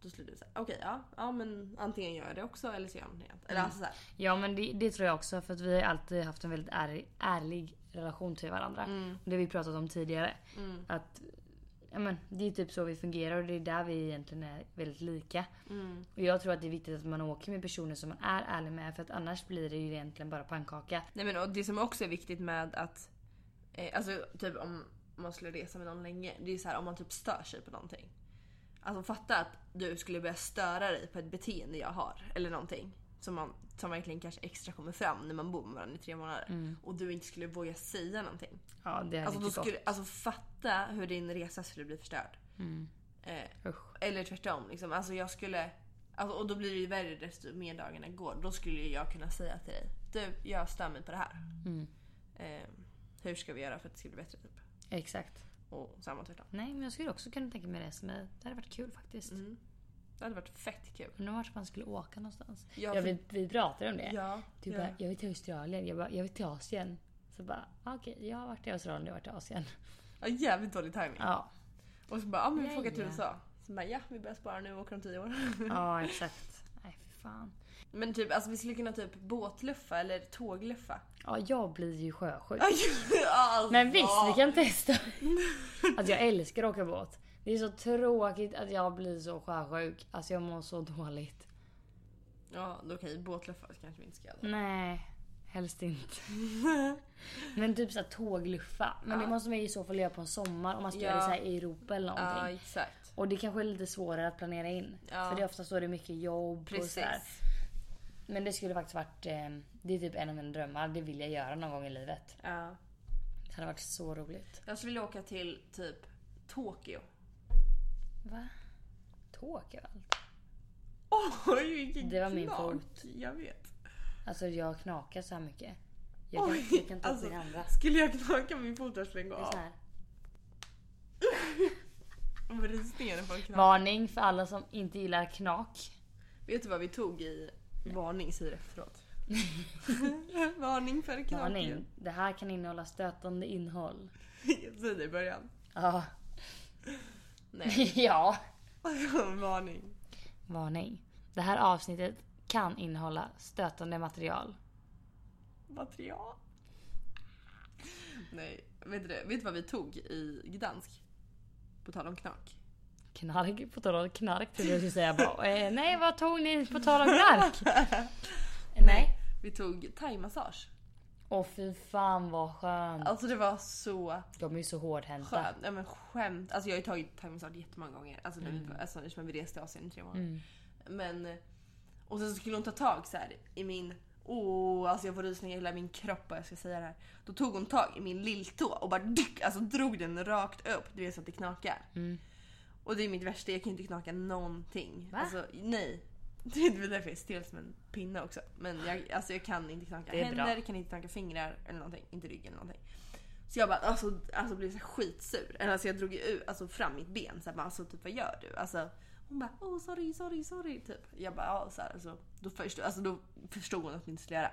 Då skulle du säga okej ja, ja men antingen gör jag det också eller så gör jag någonting annat. Eller alltså så här,
Ja men det, det tror jag också för att vi har alltid haft en väldigt ärlig, ärlig relation till varandra.
Mm.
Det har vi pratat om tidigare. Att ja, men, Det är typ så vi fungerar och det är där vi egentligen är väldigt lika.
Mm.
Och jag tror att det är viktigt att man åker med personer som man är ärlig med för att annars blir det ju egentligen bara pannkaka.
Nej men och det som också är viktigt med att, eh, alltså typ om man skulle resa med någon länge, det är så här om man typ stör sig på någonting. Alltså fatta att du skulle börja störa dig på ett beteende jag har eller någonting. Som, man, som verkligen kanske extra kommer fram när man bor med varandra i tre månader. Och du inte skulle våga säga någonting.
Ja det är
Mm. Alltså,
alltså,
då
inte
skulle, alltså fatta hur din resa skulle bli förstörd. Eh,
gott. Mm. Usch.
eller tvärtom. Liksom. Alltså jag skulle... Alltså, och då blir det ju värre desto mer dagarna går. Då skulle ju jag kunna säga till dig. Du, jag stör mig på det här.
Mm.
Eh, hur ska vi göra för att det ska bli bättre? Typ.
Exakt.
Och samma tvärtom.
Nej men jag skulle också kunna tänka mig det som är, det hade varit kul faktiskt.
Mm. Det hade varit fett kul.
Undrar vart man skulle åka någonstans.
Ja,
Ja,
för-
vi, vi pratade om det.
Ja,
Du
ja.
Typ bara, jag vill till Australien. Jag bara, jag vill till Asien. Så bara, ah, okej, jag har varit i Australien, du har varit i Asien.
ja, jävligt dålig timing.
Ja,
Och så bara, ja men vi får åka till
Ja, ja.
USA. Så bara, ja vi börjar spara nu och åker om tio år.
ja exakt. Nej, för fan.
men typ, alltså vi skulle kunna typ båtluffa eller tågluffa.
Ja, jag blir ju sjösjuk.
alltså,
Men visst, vi kan testa. Alltså jag älskar att åka båt. Det är så tråkigt att jag blir så sjösjuk. Alltså jag mår så dåligt.
Ja, då okej. Båtluffa kanske vi inte ska göra.
Mm,
då.
Nej, helst inte. Men typ såhär tågluffa. Men det
Ja.
måste man ju i så fall göra på en sommar om man ska
Ja.
göra det så här i Europa eller någonting.
Ja, exakt.
Och det kanske är lite svårare att planera in.
Ja.
För det är ofta så det är mycket jobb och
Precis.
sådär. Men det skulle faktiskt varit, eh, det är typ en av mina drömmar. Det vill jag göra någon gång i livet.
Ja.
Det hade varit så roligt.
Jag skulle vilja åka till typ Tokyo.
Va? Tåg överallt.
Oj, vilken
Det var min
knak.
fot.
Jag vet.
Alltså jag knakar så här mycket. Jag kan,
Oj,
jag kan ta
alltså.
upp min andra.
Skulle jag knaka min fot där skulle den gå
Det är så
av.
här.
Om Rysningarna får knak.
Varning för alla som inte gillar knak.
Vet du vad vi tog i varning säger efteråt? varning för knak.
Varning. Det här kan innehålla stötande innehåll.
Jag säger det i början.
Ja.
Nej.
ja.
Alltså, varning.
Varning. Det här avsnittet kan innehålla stötande material.
Material. Nej, vet du, det? vet du vad vi tog i Gdansk? På tal om knark.
Knark, på tal om knark trodde jag skulle säga. Bara, eh, nej vad tog ni på tal om knark? nej.
Vi tog thaimassage.
Åh fy fan vad skönt.
Alltså det var så
De är ju så hårdhänta.
skönt. Nej men skämt. Alltså jag har ju tagit thaimassage jättemånga gånger. Alltså, när vi, alltså eftersom vi reste i Asien i tre månader.
Mm.
Men... Och sen så skulle hon ta tag så här i min... Åh, alltså jag får rysningar i hela min kropp vad jag ska säga det här. Då tog hon tag i min lilltå och bara dyck, alltså drog den rakt upp. Du vet så att det knakar.
Mm.
Och det är mitt värsta, jag kan ju inte knaka någonting.
Va?
Alltså nej. Det är väl därför jag är stel som en pinne också. Men jag, alltså jag kan inte knaka
Det är bra.
händer, kan inte knaka fingrar eller någonting. Inte rygg eller någonting. Så jag bara alltså, alltså blev så här skitsur. Eller Alltså jag drog ju ur, alltså fram mitt ben. Så här, bara, alltså typ vad gör du? Alltså, hon bara oh sorry sorry sorry typ. Jag bara ja så här, alltså, då, förstod, alltså, då förstod hon att vi inte skulle göra.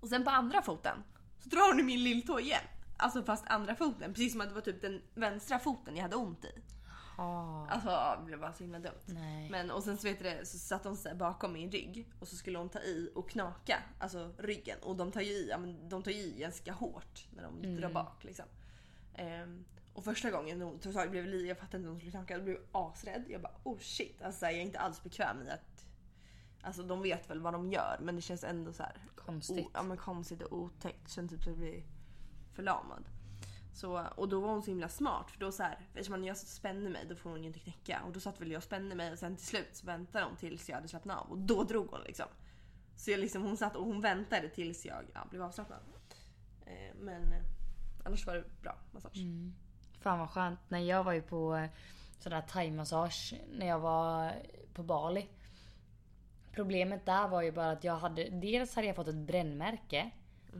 Och sen på andra foten så drar hon i min lilltå igen. Alltså fast andra foten. Precis som att det var typ den vänstra foten jag hade ont i.
Ah,
Alltså ja, det blev bara så himla dumt.
nej.
Men och sen så vet du det, så satt hon så här bakom min rygg och så skulle hon ta i och knaka, alltså ryggen. Och de tar ju i, ja, men de tar ju i ganska hårt när de drar bak liksom. Ehm, och första gången hon tog tag blev li- jag fattade inte hur hon skulle knaka, jag blev asrädd. Jag bara oh shit, alltså, så här, jag är inte alls bekväm i att Alltså de vet väl vad de gör men det känns ändå så här
Konstigt.
O, Oh, ja, men konstigt och otäckt. Känns typ som att jag blir förlamad. Så, och då var hon så himla smart för då så här, eftersom jag spände mig då får hon ju inte knäcka. Och då satt väl jag och spände mig och sen till slut så väntade hon tills jag hade slappnat av och då drog hon liksom. Så jag liksom, hon satt och hon väntade tills jag ja, blev avslappnad. Eh, men eh, annars var det bra massage.
Mm. Fan vad skönt. När jag var ju på eh, sån där thaimassage när jag var på Bali. Problemet där var ju bara att jag hade, dels hade jag fått ett brännmärke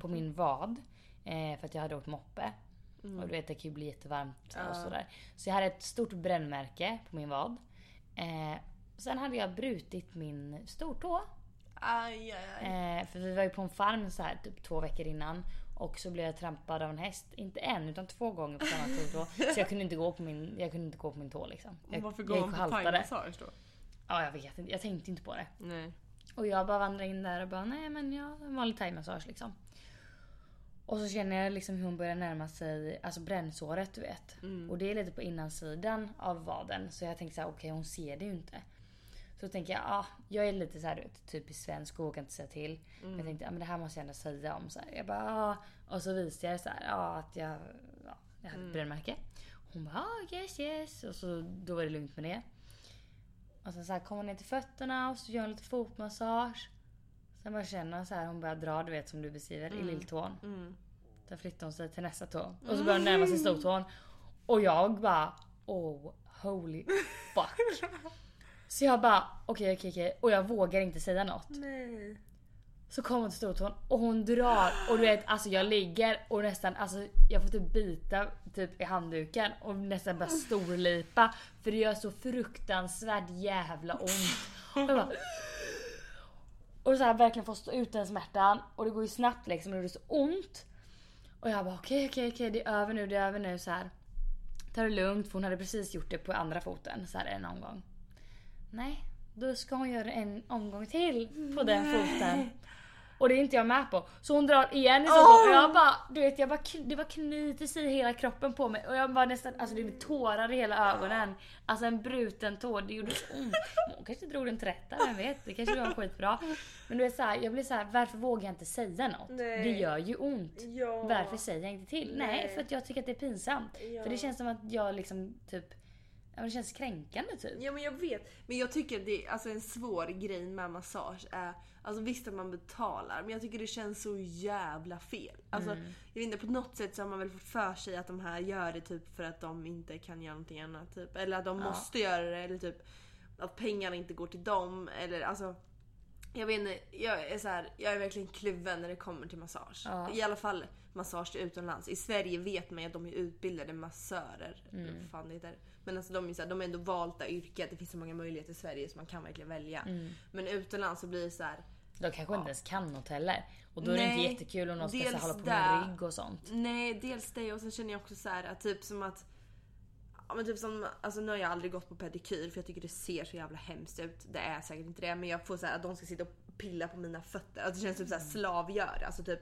på min vad. Eh, för att jag hade åkt moppe. Och du vet det kan ju bli jättevarmt
Ja.
och sådär. Så jag hade ett stort brännmärke på min vad. Eh, sen hade jag brutit min stortå.
Aj, aj, aj.
Eh, för vi var ju på en farm så här typ två veckor innan. Och så blev jag trampad av en häst. Inte en utan två gånger på samma tå. Så jag kunde inte gå på min, jag kunde inte gå på min tå liksom. Jag,
Varför
jag
går
gick
hon
och
på
haltade.
thaimassage då?
Ja jag vet inte, jag tänkte inte på det.
Nej.
Och jag bara vandrar in där och bara nej men jag har en vanlig thaimassage liksom. Och så känner jag liksom hur hon börjar närma sig alltså brännsåret du vet. Och det är lite på innansidan av vaden. Så jag tänker så här: okej hon ser det ju inte. Så tänker jag, ah, jag är lite så här, du vet, typiskt svensk och vågar inte säga till. Men jag tänkte, ah, men det här måste jag ändå säga om. Så här, jag bara, ah. Och så visade jag så här, ah, att jag, ja, jag hade ett brännmärke. Hon bara, ah, yes yes. Och så, då var det lugnt med det. Och sen så här, kommer hon ner till fötterna och så gör hon lite fotmassage. Sen bara känner hon så här, hon börjar dra du vet som du beskriver i lilltån.
Mm.
Sen flyttar hon sig till nästa tå och så börjar hon närma sig stortån. Och jag bara oh holy fuck. så jag bara okej okej okej och jag vågar inte säga något.
Nej.
Så kommer hon till stortån och hon drar och du vet alltså jag ligger och nästan alltså jag får typ bita typ i handduken och nästan bara storlipa för det gör så fruktansvärt jävla ont. Och jag bara, och så här verkligen får stå ut den smärtan och det går ju snabbt liksom och det gör så ont. Och jag bara okej okej okej det är över nu det är över nu så här. Ta det lugnt för hon hade precis gjort det på andra foten så här en omgång. Nej, då ska hon göra en omgång till på den foten. Och det är inte jag med på. Så hon drar igen i oh! och jag bara, du vet jag bara, kn- det bara knyter sig i hela kroppen på mig och jag bara nästan, alltså det blev tårar i hela ögonen. Alltså en bruten tå, det gjorde så ont. Men Hon kanske drog den till rätta, vem vet? Det kanske var skitbra. Men du vet såhär, jag blir såhär, varför vågar jag inte säga något?
Nej.
Det gör ju ont.
Ja.
Varför säger jag inte till? Nej,
Nej.
för att jag tycker att det är pinsamt.
Ja.
För det känns som att jag liksom typ, ja men det känns kränkande typ.
Ja men jag vet. Men jag tycker det är alltså en svår grej med massage är, alltså visst att man betalar men jag tycker det känns så jävla fel. Alltså jag vet inte på något sätt så har man väl fått för sig att de här gör det typ för att de inte kan göra någonting annat typ. Eller att de måste göra det eller typ att pengarna inte går till dem eller alltså jag vet inte, jag är, så här, jag är verkligen kluven när det kommer till massage.
Ja.
I alla fall massage utomlands. I Sverige vet man ju att de är utbildade massörer. eller vad Fan det heter. Men alltså de, är ju så här, de har ändå valt det yrket. Det finns så många möjligheter i Sverige så man kan verkligen välja. Men utomlands så blir det så här.
De kanske inte ens kan något heller. Och då är det
Nej,
inte jättekul om någon ska så här
dels
hålla på
det.
med rygg och sånt.
Nej, dels det och sen känner jag också så här att typ som att Ja, men typ som, alltså nu har jag aldrig gått på pedikyr för jag tycker det ser så jävla hemskt ut. Det är
Mm.
säkert inte det men jag får så här att de ska sitta och pilla på mina fötter. Alltså det känns typ så här slavgör. Alltså typ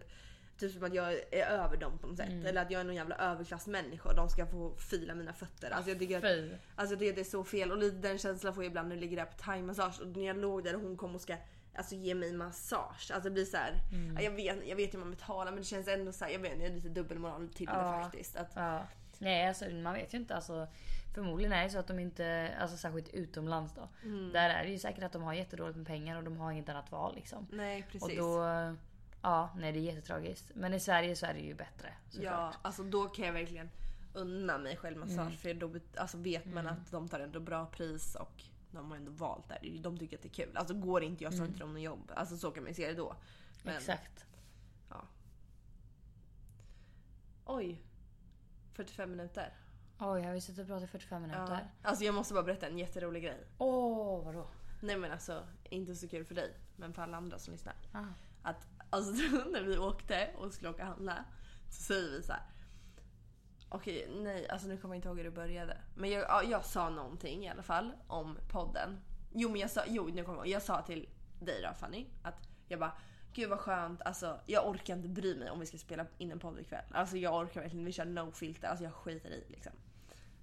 Typ som att jag är över dem på något sätt.
Mm.
Eller att jag är någon jävla överklassmänniska och de ska få fila mina fötter. Alltså jag tycker att
Fy.
Alltså jag tycker att det är så fel och lite den känslan får jag ibland när jag ligger där på thaimassage och när jag låg där och hon kom och ska alltså, ge mig massage. Alltså det blir så här,
Mm.
ja, jag, vet, jag vet hur man betalar men det känns ändå så här, jag vet inte, jag är lite dubbelmoral till det
Ja.
faktiskt. Att,
Ja. Nej, alltså, man vet ju inte. Alltså, förmodligen är det så att de inte, alltså, särskilt utomlands då.
Mm.
Där är det ju säkert att de har jättedåligt med pengar och de har inget annat val liksom.
nej Mm, precis.
Och då, ja, nej det är jättetragiskt. Men i Sverige så är det ju bättre
ja,
såklart. Mm.
alltså då kan jag verkligen unna mig själv massage för då bet- alltså, vet man att de tar ändå bra pris och de har ändå valt där. De tycker att det är kul. Alltså går det inte jag så
Mm.
har inte de något jobb. Alltså så kan man ju se det då. Men,
Exakt.
Ja. Oj. 45 minuter.
Oj, jag har ju suttit och pratat i 45
Ja.
minuter.
Alltså jag måste bara berätta en jätterolig grej.
Åh, vadå?
Nej men alltså, inte så kul för dig, men för alla andra som lyssnar.
Ah.
Att alltså när vi åkte och skulle åka och handla så säger vi så här. Okej, nej, alltså nu kommer jag inte ihåg hur det började. Men jag, ja, jag sa någonting i alla fall om podden. Jo men jag sa, jo nu kommer jag ihåg. Jag sa till dig då Fanny att jag bara Gud vad skönt, alltså jag orkar inte bry mig om vi ska spela in en podd ikväll. Alltså jag orkar verkligen inte, vi kör no filter, alltså jag skiter i liksom.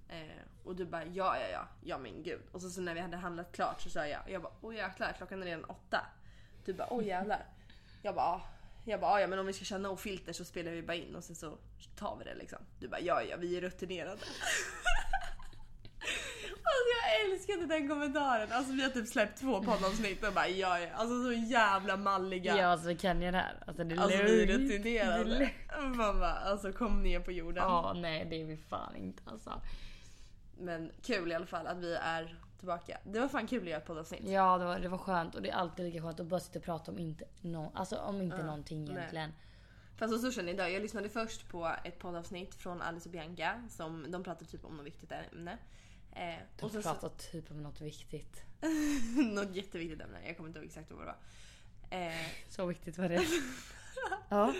Eh, och du bara ja, ja, ja, ja men gud. Och så, så när vi hade handlat klart så sa jag, jag bara oj jäklar klockan är redan åtta. Du bara oj jävlar. Jag bara, "Ah." jag bara "Ah, ja men om vi ska köra no filter så spelar vi bara in och sen så tar vi det liksom. Du bara ja, ja vi är rutinerade. Alltså jag älskade den kommentaren. Alltså vi har typ släppt två poddavsnitt och bara ja, ja. Alltså så jävla malliga.
Ja, alltså vi kan ju det här. Alltså det är
Alltså vi är
lugnt. Det är
rutinerade.
lugnt.
Man bara, alltså kom ner på jorden.
Ja, nej det är vi fan inte alltså.
Men kul i alla fall att vi är tillbaka. Det var fan kul att göra ett poddavsnitt.
Ja, det var, det var skönt och det är alltid lika skönt att bara sitta och prata om inte, no, alltså, om inte någonting
nej.
egentligen.
Fast så känner jag idag. Jag lyssnade först på ett poddavsnitt från Alice och Bianca. Som, de pratade typ om något viktigt ämne. Eh,
De
och sen så,
pratar typ om något viktigt.
något jätteviktigt ämne. Jag kommer inte ihåg exakt vad det var. Eh,
Så viktigt var det. ja.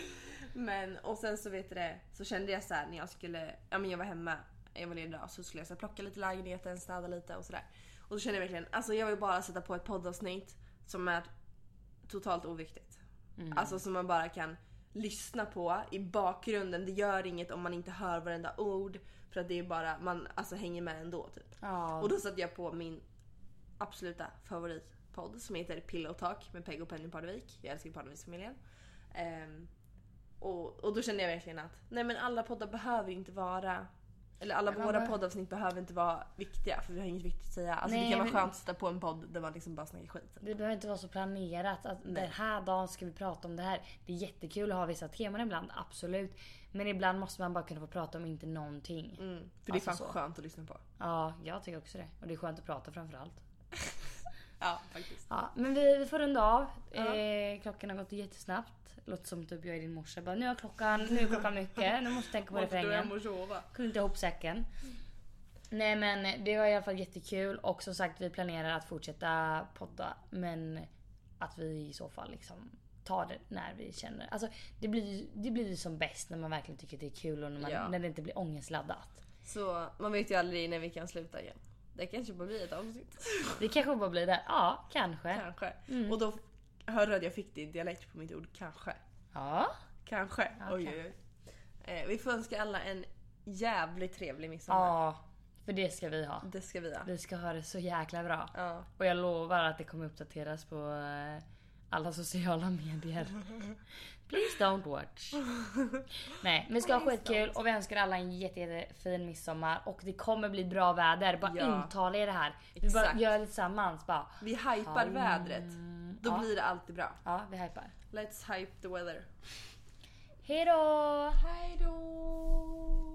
Men och sen så vet du det, så kände jag så här när jag skulle, ja men jag var hemma, jag var ledig idag, så skulle jag så här, plocka lite i lägenheten, städa lite och sådär. Och så kände jag verkligen, alltså jag vill bara sätta på ett poddavsnitt som är totalt oviktigt. Alltså som man bara kan lyssna på i bakgrunden. Det gör inget om man inte hör varenda ord för att det är bara, man alltså hänger med ändå typ.
ja.
Och då satte jag på min absoluta favoritpodd som heter Pillow Talk med Peg och Penny Parnevik. Jag älskar ju Parneviksfamiljen. Ehm, och, och då kände jag verkligen att nej men alla poddar behöver ju inte vara eller alla
Nej, man
våra
behöver-
poddavsnitt behöver inte vara viktiga för vi har inget viktigt att säga. Alltså
Nej,
det kan vara
men-
skönt att sätta på en podd där man liksom bara snackar skit.
Det behöver inte vara så planerat att den här dagen ska vi prata om det här. Det är jättekul att ha vissa teman ibland, absolut. Men ibland måste man bara kunna få prata om inte någonting.
Mm, för det är
Alltså
fan
så.
skönt att lyssna på.
Ja, jag tycker också det. Och det är skönt att prata framförallt.
Ja faktiskt.
Ja, men vi, vi får runda av.
Ja.
Eh, klockan har gått jättesnabbt. Låter som typ jag är din morsa. Bara, nu har klockan, nu är klockan mycket. Nu måste jag tänka på
Måste du
refrängen.
hem och sova?
Kunde inte ihop säcken. Nej men det var i alla fall jättekul och som sagt vi planerar att fortsätta podda men att vi i så fall liksom tar det när vi känner. Alltså det blir ju det blir ju som bäst när man verkligen tycker det är kul och när, man,
Ja.
när det inte blir ångestladdat.
Så man vet ju aldrig när vi kan sluta igen. Det kanske bara blir ett avsnitt.
Det kanske bara blir det. Ja, Mm. kanske.
Kanske. Och då hörde jag att jag fick din dialekt på mitt ord kanske.
Ja.
Kanske.
Ja,
oj,
kanske.
oj, oj. Eh, vi får önska alla en jävligt trevlig midsommar.
Ja. För det ska vi ha.
Det ska vi ha.
Vi ska ha det så jäkla bra.
Ja.
Och jag lovar att det kommer uppdateras på eh, alla sociala medier. Please don't watch. Nej, men vi ska ha
Please
skitkul och vi önskar alla en jätte, jättefin midsommar. Och det kommer bli bra väder. Bara
Ja.
intala er det här. Vi bara
Exakt.
gör det tillsammans. Bara,
Vi hypar vädret. Då
ja.
blir det alltid bra.
ja, vi hypar.
Let's hype the weather.
Hej då!
Hej då!